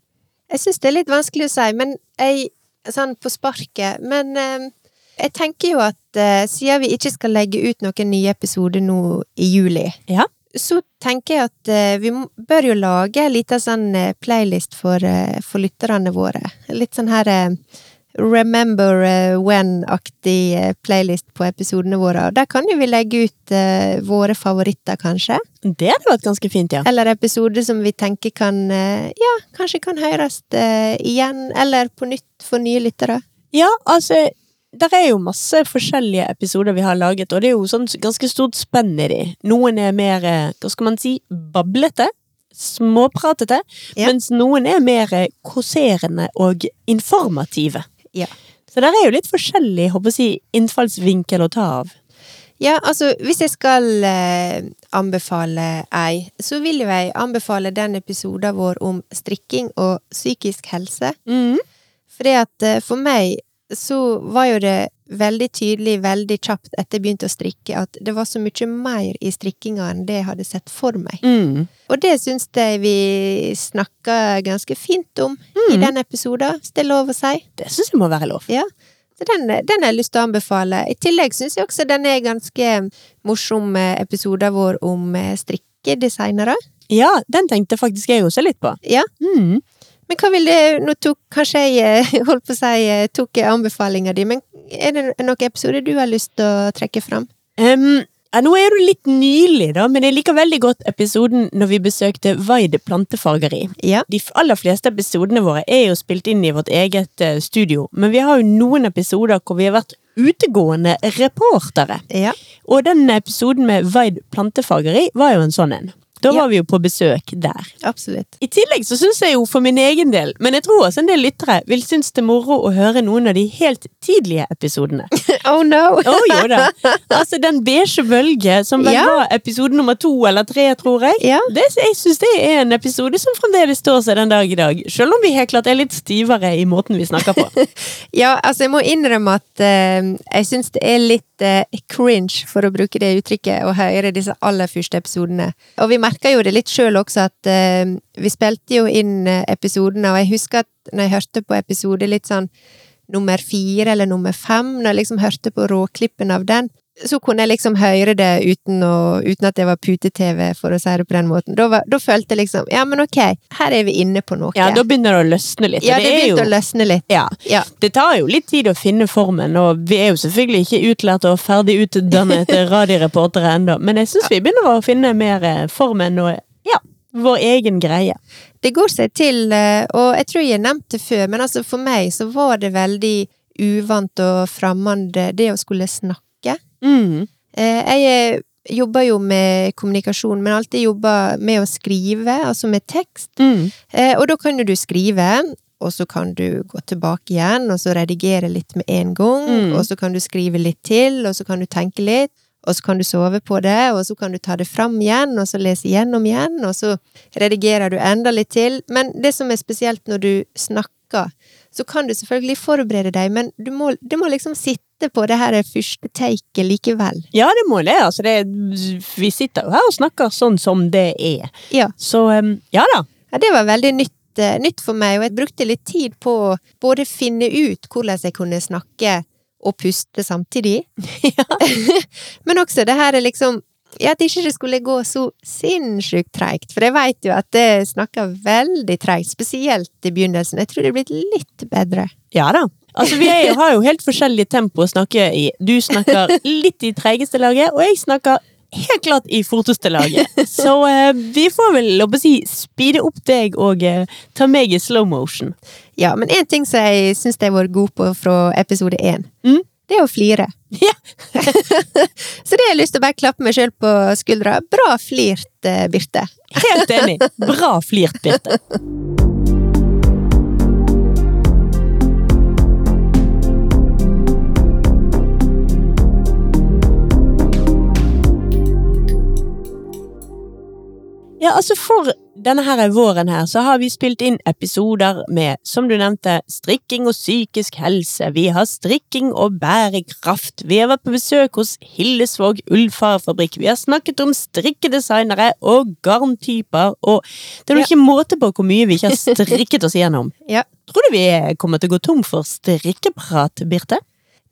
Jeg syns det er litt vanskelig å si, men jeg Sånn på sparket. Men eh, jeg tenker jo at eh, siden vi ikke skal legge ut noen nye episoder nå i juli,
Ja.
så tenker jeg at eh, vi må- bør jo lage en liten sånn eh, playlist for, eh, for lytterne våre. Litt sånn her eh, Remember eh, when-aktig eh, playlist på episodene våre. Og der kan jo vi legge ut eh, våre favoritter, kanskje.
Det hadde vært ganske fint, ja.
Eller episoder som vi tenker kan eh, Ja, kanskje kan høres eh, igjen, eller på nytt for nye lyttere.
Ja, altså, der er jo masse forskjellige episoder vi har laget, og det er jo sånn ganske stort spenn i de. Noen er mer, eh, hva skal man si, bablete, småpratete,
Ja.
mens noen er mer eh, kåserende og informative.
Ja.
Så der er jo litt forskjellig, håper jeg, å si, innfallsvinkel å ta av.
Ja, altså, hvis jeg skal eh, anbefale ei, så vil jo jeg anbefale den episoden vår om strikking og psykisk helse. Fordi at eh, for meg så var jo det veldig tydelig veldig kjapt etter jeg begynte å strikke, at det var så mye mer i strikkinga enn det jeg hadde sett for meg.
Mm.
Og det syns jeg vi snakka ganske fint om i den episoden, hvis det er lov å si.
Det syns jeg må være lov.
Ja. Så den, den har jeg lyst til å anbefale. I tillegg syns jeg også den er ganske morsom eh, episoden vår om eh, strikkedesignere.
Ja, den tenkte faktisk jeg også litt på.
Ja.
Mm.
Men hva vil det Nå tok kanskje jeg eh, holdt på å si eh, tok anbefalinga di, men er det noen episoder du har lyst til å trekke fram?
Em, ja, nå er du litt nylig, da, men jeg liker veldig godt episoden når vi besøkte Vaid plantefargeri.
Ja.
De f- aller fleste episodene våre er jo spilt inn i vårt eget eh, studio, men vi har jo noen episoder hvor vi har vært utegående reportere.
ja.
Og den episoden med Vaid plantefargeri var jo en sånn en. Da
Ja.
var vi jo på besøk der.
Absolutt.
I tillegg så syns jeg jo for min egen del, men jeg tror også en del lyttere vil synes det er moro å høre noen av de helt tidlige episodene.
Oh no!
Å jo da! Altså den beige bølge, som vel
Ja.
var episode nummer to eller tre, tror jeg.
Ja.
Det, jeg syns det er en episode som fremdeles står seg den dag i dag, selv om vi helt klart er litt stivere i måten vi snakker på.
Ja, altså jeg må innrømme at eh, jeg syns det er litt eh, cringe, for å bruke det uttrykket, å høre disse aller første episodene. Og vi merka jo det litt sjøl også, at eh, vi spilte jo inn eh, episodene, og jeg husker at når jeg hørte på episode litt sånn nummer fire eller nummer fem, når jeg liksom hørte på råklippen av den, så kunne jeg liksom høre det uten, å, uten at det var pute-TV, for å si det på den måten. Da, var, da følte jeg liksom Ja, men ok, her er vi inne på noe.
Ja, da begynner det å løsne litt. og
Ja, det
er jo-
begynte å løsne litt.
ja.
Ja.
Det tar jo litt tid å finne formen, og vi er jo selvfølgelig ikke utlært og ferdig utdannet radioreportere ennå, men jeg syns vi begynner å finne mer eh, formen og ja, vår egen greie.
Det går seg til, eh, og jeg tror jeg har nevnt det før, men altså for meg så var det veldig uvant og fremmed eh, det å skulle snakke.
Mm.
Eh, Jeg eh, jobber jo med kommunikasjon, men alltid jobber med å skrive, altså med tekst.
Mm.
Eh, Og da kan jo du skrive, og så kan du gå tilbake igjen, og så redigere litt med en gang,
Mm.
og så kan du skrive litt til, og så kan du tenke litt, og så kan du sove på det, og så kan du ta det fram igjen, og så lese gjennom igjen, og så redigerer du enda litt til. Men det som er spesielt når du snakker, så kan du selvfølgelig forberede deg, men du må, det må liksom sitte på det her første taket likevel.
Ja, det må det. Altså, det. Vi sitter jo her og snakker sånn som det er.
Ja.
Så em, ja da.
Ja, det var veldig nytt, eh, nytt for meg, og jeg brukte litt tid på å både finne ut hvordan jeg kunne snakke og puste samtidig. Men også det her er liksom ja, At ikke det skulle gå så sinnssykt treigt, for jeg veit jo at det snakker veldig treigt, spesielt i begynnelsen. Jeg tror det er blitt litt bedre.
Ja da. Altså, Vi er, jo- har jo helt forskjellig tempo å snakke i. Du snakker litt i tregeste laget, og jeg snakker helt klart i forteste laget. Så eh, vi får vel lov å si speede opp deg og eh, ta meg i slow motion.
Ja, men én ting som jeg syns jeg har vært god på fra episode én,
Mm.
det er å flire.
Ja.
Så det har jeg lyst til å bare klappe meg sjøl på skuldra. Bra flirt, eh, Birte.
Helt enig. Bra flirt, Birte. Ja, altså For denne her våren her, så har vi spilt inn episoder med, som du nevnte, strikking og psykisk helse. Vi har strikking og bærekraft. Vi har vært på besøk hos Hillesvåg ullfarefabrikk. Vi har snakket om strikkedesignere og garntyper, og det er jo ikke måte på hvor mye vi ikke har strikket oss gjennom.
Ja.
Tror du vi kommer til å gå tom for strikkeprat, Birte?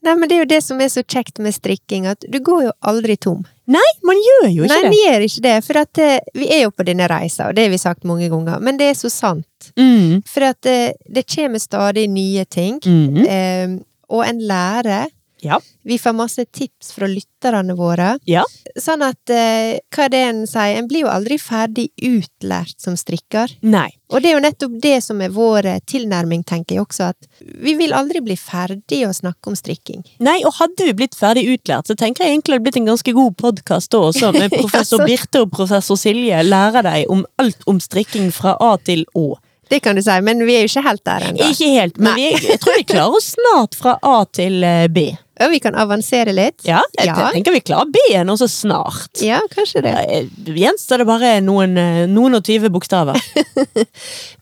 Nei, men det er jo det som er så kjekt med strikking, at du går jo aldri tom.
Nei, man gjør jo
Nei,
ikke
vi
det.
gjør ikke det, for at eh, vi er jo på denne reisa, og det har vi sagt mange ganger, men det er så sant.
Mm.
For at eh, det kommer stadig nye ting,
Mm.
eh, og en lærer.
Ja.
Vi får masse tips fra lytterne våre.
Ja.
Sånn at, eh, hva er det en sier, en blir jo aldri ferdig utlært som strikker.
Nei.
Og det er jo nettopp det som er vår eh, tilnærming, tenker jeg også, at vi vil aldri bli ferdig å snakke om strikking.
Nei, og hadde vi blitt ferdig utlært, så tenker jeg egentlig det hadde blitt en ganske god podkast også, med professor
sant.
Birte og professor Silje lærer deg om alt om strikking fra A til Å.
Det kan du si, men vi er jo ikke helt der ennå.
Ikke helt, men vi, jeg tror vi klarer oss snart fra A til eh, B.
Ja, vi kan avansere litt.
Ja, jeg
Ja.
tenker vi klarer B-en også snart.
Ja, kanskje det.
Ja, eh, Gjenstår det bare noen, eh, noen og tyve bokstaver.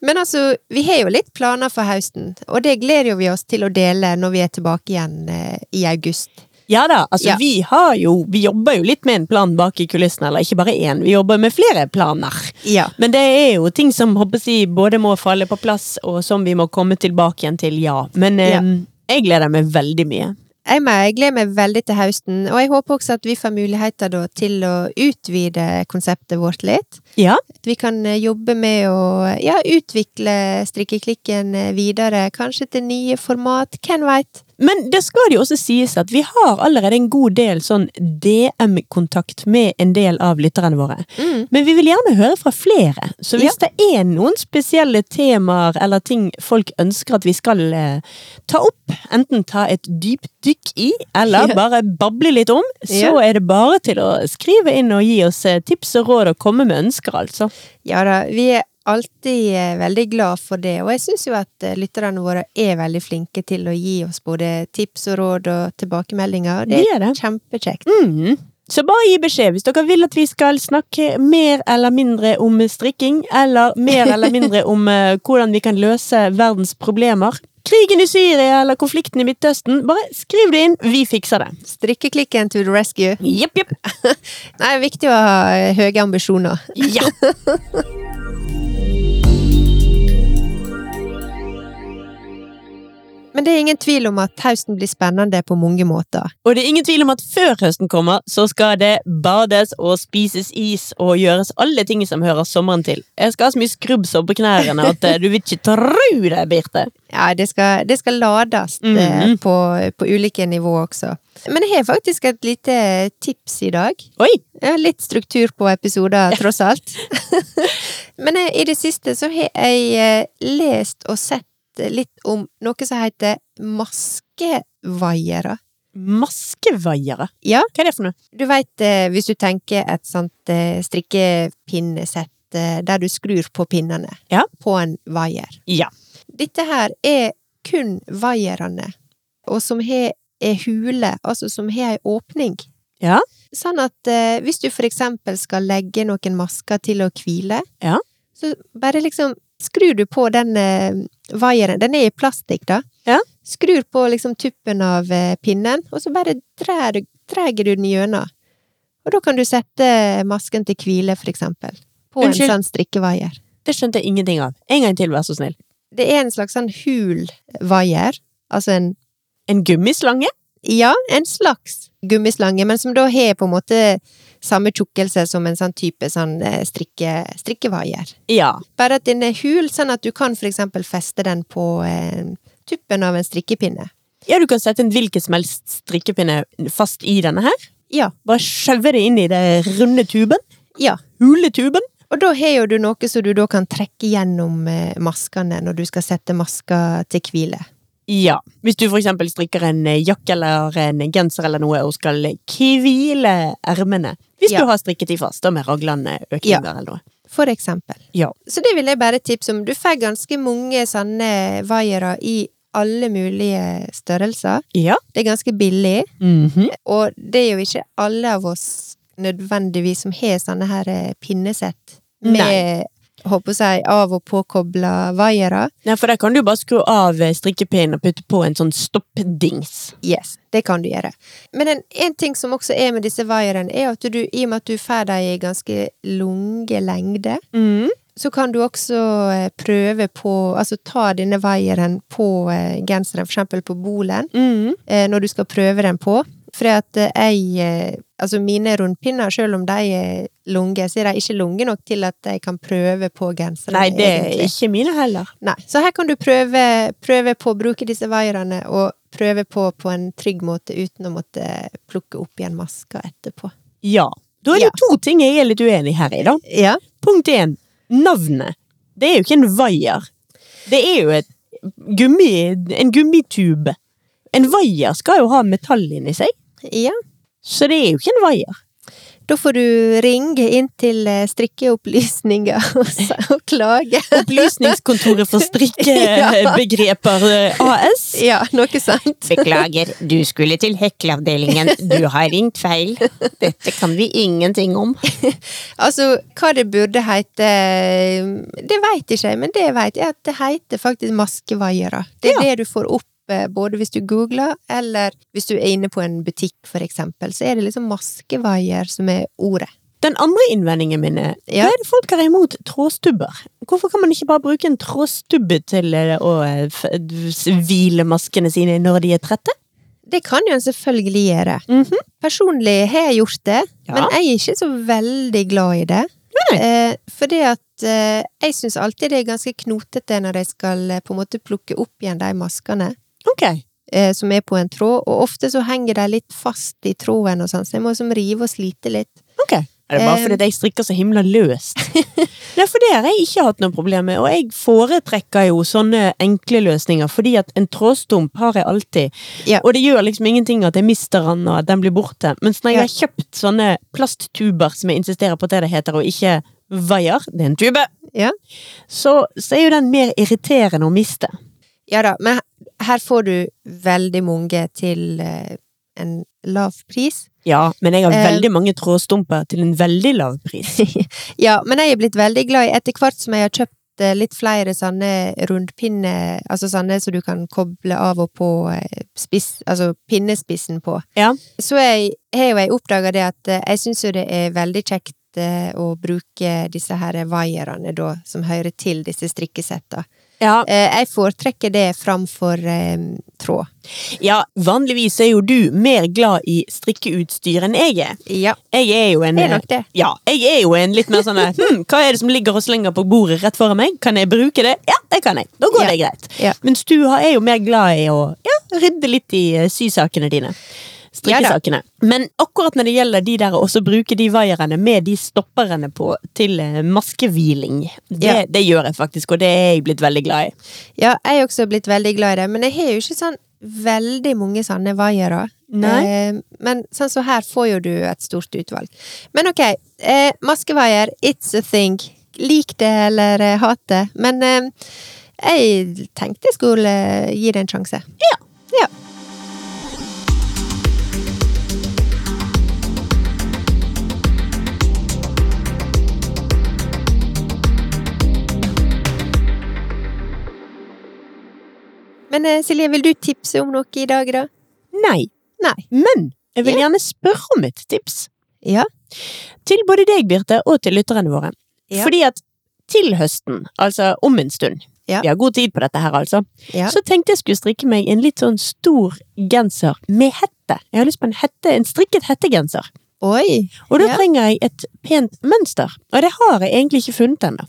Men altså, vi har jo litt planer for høsten, og det gleder jo vi oss til å dele når vi er tilbake igjen eh, i august.
Ja da, altså
Ja.
vi har jo Vi jobber jo litt med en plan bak i kulissene, eller ikke bare én. Vi jobber med flere planer.
Ja.
Men det er jo ting som håper jeg, både må falle på plass, og som vi må komme tilbake igjen til, ja. Men eh,
Ja.
jeg gleder meg veldig mye.
Jeg, må, jeg gleder meg veldig til høsten, og jeg håper også at vi får muligheter da til å utvide konseptet vårt litt.
Ja,
At vi kan eh, jobbe med å ja, utvikle strikkeklikken eh, videre, kanskje til nye format, hvem veit?
Men det skal jo også sies at vi har allerede en god del sånn DM-kontakt med en del av lytterne våre.
Mm.
Men vi vil gjerne høre fra flere, så hvis det er noen spesielle temaer eller ting folk ønsker at vi skal eh, ta opp, enten ta et dypt dykk i, eller
Ja.
bare bable litt om, så
Ja.
er det bare til å skrive inn og gi oss eh, tips og råd og komme med ønsker, altså.
Ja da, vi er alltid eh, veldig glad for det, og jeg syns jo at eh, lytterne våre er veldig flinke til å gi oss både tips og råd og tilbakemeldinger, og det
Det er
er
det.
kjempekjekt.
Mm. Så bare gi beskjed hvis dere vil at vi skal snakke mer eller mindre om strikking, eller mer eller mindre om eh, hvordan vi kan løse verdens problemer. Krigen i Syria eller konflikten i Midtøsten. Bare skriv det inn, vi fikser det.
Strikkeklikken to the rescue.
Jepp, jepp.
Nei, det er viktig å ha eh, høye ambisjoner.
Ja.
Men det er ingen tvil om at høsten blir spennende på mange måter.
Og det er ingen tvil om at før høsten kommer, så skal det bades og spises is og gjøres alle ting som hører sommeren til. Jeg skal ha så mye skrubbsår på knærne at eh, du vil ikke tro det, Birte.
Ja, det skal, det skal lades eh,
Mhm.
på, på ulike nivå også. Men jeg har faktisk et lite tips i dag.
Oi!
Jeg har litt struktur på episoder, tross alt. Men eh, i det siste så har jeg eh, lest og sett litt om noe som heter maskevaiere.
Maskevaiere.
Ja.
Hva er det for noe?
Du veit eh, hvis du tenker et sånt eh, strikkepinnesett eh, der du skrur på pinnene
Ja.
på en vaier.
Ja.
Dette her er kun vaierne, og som har er hule, altså som har ei åpning.
Ja.
Sånn at eh, hvis du for eksempel skal legge noen masker til å hvile,
Ja.
så bare liksom skrur du på den eh, vaieren, den er i plastikk da,
Ja.
skrur på liksom tuppen av eh, pinnen, og så bare drar, du- dreger du den gjennom. Og da kan du sette masken til hvile, for eksempel, på
Unnskyld.
en sånn strikkevaier.
Det skjønte jeg ingenting av. En gang til, vær så snill.
Det er en slags sånn hul vaier, altså en
En gummislange?
Ja, en slags gummislange, men som da har på en måte samme tjukkelse som en sånn type sånn eh, strikke, strikkevaier.
Ja.
Bare at den er hul, sånn at du kan for eksempel feste den på eh, tuppen av en strikkepinne.
ja, du kan sette en hvilken som helst strikkepinne fast i denne her.
Ja.
Bare skjøve det inn i den runde tuben.
Ja.
Hule tuben.
Og da har jo du noe som du da kan trekke gjennom eh, maskene når du skal sette maska til hvile.
Ja. Hvis du for eksempel strikker en eh, jakke eller en genser eller noe og skal hvile ermene. Hvis
Ja.
du har strikket de fast, da med raglanøkninger
Ja.
eller noe.
For eksempel.
Ja.
Så det vil jeg bare tipse om. Du får ganske mange sånne vaiere i alle mulige størrelser.
Ja.
Det er ganske billig.
Mhm.
Og det er jo ikke alle av oss nødvendigvis som har sånne her eh, pinnesett med håper jeg, av- og påkobla vaiere.
Nei, for der kan du bare skru av eh, strikkepinnen og putte på en sånn stoppdings.
Yes, det kan du gjøre. Men en, en ting som også er med disse vaierne, er at du, i og med at du får dem i ganske lange lengder,
Mhm.
så kan du også eh, prøve på Altså ta denne vaieren på eh, genseren, for eksempel på bolen.
Mhm.
eh, når du skal prøve den på. For at eh, jeg, eh, altså mine rundpinner, selv om de er lange, så er de ikke lange nok til at jeg kan prøve på genseren.
Nei, det er
egentlig.
ikke mine heller.
Nei. Så her kan du prøve, prøve på å bruke disse vaierne, og prøve på på en trygg måte uten å måtte eh, plukke opp igjen maska etterpå.
Ja. Da er det to ting jeg er litt uenig her i, da.
Ja.
Punkt én. Navnet. Det er jo ikke en vaier. Det er jo et gummi, en gummitube. En vaier skal jo ha metall inni seg,
ja.
så det er jo ikke en vaier.
Da får du ringe inn til eh, strikkeopplysninger og, s- og klage.
Opplysningskontoret for strikkebegreper eh, AS.
Ja, noe sant.
Beklager, du skulle til hekleavdelingen. Du har ringt feil. Dette kan vi ingenting om.
Altså, hva det burde hete Det veit ikke jeg, men det jeg veit, er at det heter faktisk maskevaiere. Det er
Ja.
det du får opp eh, både hvis du googler, eller hvis du er inne på en butikk, for eksempel, så er det liksom maskevaier som er ordet.
Den andre innvendingen min er
Ja.
Hva er det folk har imot trådstubber? Hvorfor kan man ikke bare bruke en trådstubbe til eh, å eh, f- s- hvile maskene sine når de er trette?
Det kan jo en selvfølgelig gjøre.
Mhm.
Personlig har jeg gjort det,
Ja.
men jeg er ikke så veldig glad i det.
Nei.
Eh, fordi at eh, jeg syns alltid det er ganske knotete når jeg skal eh, på en måte plukke opp igjen de maskene.
Ok.
eh, som er på en tråd, og ofte så henger de litt fast i tråden og sånn, så jeg må liksom rive og slite litt.
ok. Er det bare
Eh,
fordi at jeg strikker så himla løst? Nei, for det har jeg ikke hatt noe problem med, og jeg foretrekker jo sånne enkle løsninger, fordi at en trådstump har jeg alltid,
Ja.
og det gjør liksom ingenting at jeg mister den og at den blir borte, mens når jeg
Ja.
har kjøpt sånne plasttuber som jeg insisterer på at det heter, og ikke vaier, det er en tube,
Ja.
så, så er jo den mer irriterende å miste.
ja da, men her får du veldig mange til eh, en lav pris.
Ja, men jeg har
Eh,
veldig mange trådstumper til en veldig lav pris.
Ja, men jeg er blitt veldig glad i etter hvert som jeg har kjøpt eh, litt flere sånne rundpinner, altså sånne som du kan koble av og på eh, spiss, altså pinnespissen på.
Ja.
Så jeg, har jo jeg oppdaga det at eh, jeg syns jo det er veldig kjekt eh, å bruke disse her vaierne da, som hører til disse strikkesetta.
Ja,
Eh, Jeg foretrekker det framfor eh, tråd.
ja, vanligvis er jo du mer glad i strikkeutstyr enn jeg er.
Ja,
Jeg er jo en
det er nok det.
ja, jeg er jo en litt mer sånn eh, hm, Hva er det som ligger og slenger på bordet rett foran meg? Kan jeg bruke det? Ja, det kan jeg. Da går
Ja.
det greit.
Ja.
Mens du har- er jo mer glad i å ja, rydde litt i eh, sysakene dine.
Ja da.
Strikkesakene. Men akkurat når det gjelder de der å også bruke de vaierne med de stopperne på til eh, maskehviling, det,
Ja.
det gjør jeg faktisk, og det er jeg blitt veldig glad i.
Ja, jeg er også blitt veldig glad i det, men jeg har jo ikke sånn veldig mange sånne vaiere.
Nei.
Eh, men sånn som her får jo du et stort utvalg. Men ok, eh, maskevaier, it's a thing. Lik det eller eh, hat det, men eh, jeg tenkte jeg skulle eh, gi det en sjanse.
Ja.
Ja. Men eh, Silje, vil du tipse om noe i dag, da?
Nei,
Nei.
men jeg vil
Ja.
gjerne spørre om et tips.
Ja.
Til både deg, Birte, og til lytterne våre.
Ja.
Fordi at til høsten, altså om en stund,
Ja.
Vi har god tid på dette her, altså.
Ja.
Så tenkte jeg skulle strikke meg en litt sånn stor genser med hette. Jeg har lyst på en hette, en strikket hettegenser.
Oi!
Og da
Ja.
trenger jeg et pent mønster, og det har jeg egentlig ikke funnet ennå.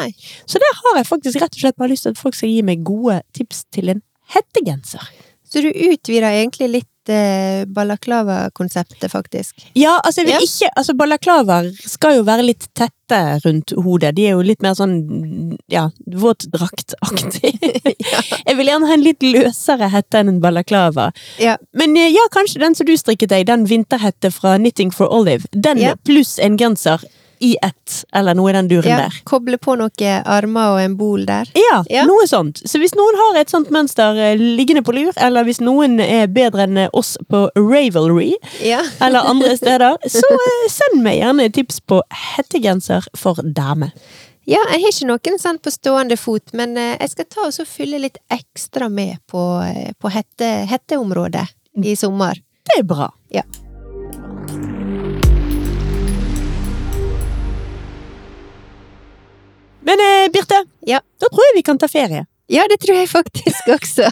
Nei.
Så der har jeg faktisk rett og slett bare lyst til at folk skal gi meg gode tips til en hettegenser.
Så du utvider egentlig litt eh, balaklava-konseptet, faktisk.
Ja, altså, jeg vil
Ja.
ikke, altså balaklavaer skal jo være litt tette rundt hodet. De er jo litt mer sånn ja, våtdraktaktig. Jeg vil gjerne ha en litt løsere hette enn en balaklava.
Ja.
Men eh, ja, kanskje den som du strikket deg, den vinterhette fra Knitting for Olive. Den
Ja.
pluss en genser i ett, eller noe i den duren
ja.
Sånn der.
Koble på noen armer og en bol der.
Ja,
Ja.
noe sånt. Så hvis noen har et sånt mønster eh, liggende på lur, eller hvis noen er bedre enn eh, oss på Ravelry,
Ja.
eller andre steder, så eh, send meg gjerne et tips på hettegenser for dame.
ja, jeg har ikke noen sånn på stående fot, men eh, jeg skal ta og så fylle litt ekstra med på, eh, på hette, hetteområdet i sommer.
Det er bra.
Ja.
Men eh, Birte,
Ja.
da tror jeg vi kan ta ferie.
Ja, det tror jeg faktisk også.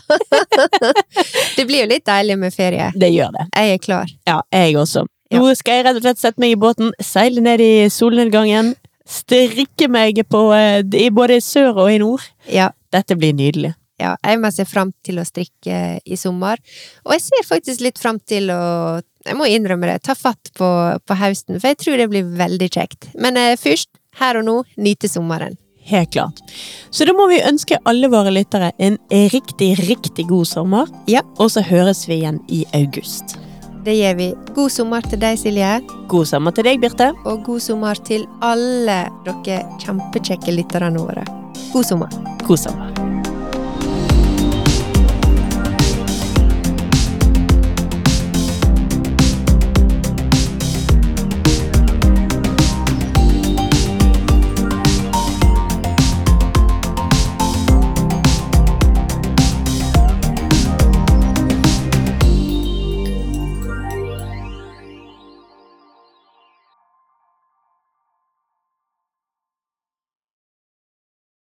det blir jo litt deilig med ferie.
Det gjør det.
Jeg er klar.
Ja, jeg også. Nå skal jeg rett og slett sette meg i båten, seile ned i solnedgangen, strikke meg på, eh, i både sør og i nord.
Ja.
Dette blir nydelig.
ja, jeg må se fram til å strikke i sommer. Og jeg ser faktisk litt fram til å Jeg må innrømme det, ta fatt på, på høsten, for jeg tror det blir veldig kjekt. Men eh, først, her og nå, nyte sommeren.
Helt klart. Så da må vi ønske alle våre lyttere en riktig, riktig god sommer.
Ja.
Og så høres vi igjen i august.
Det gjør vi. God sommer til deg, Silje,
God sommer til deg, Birte.
og god sommer til alle dere kjempekjekke lytterne våre. God sommer.
God sommer.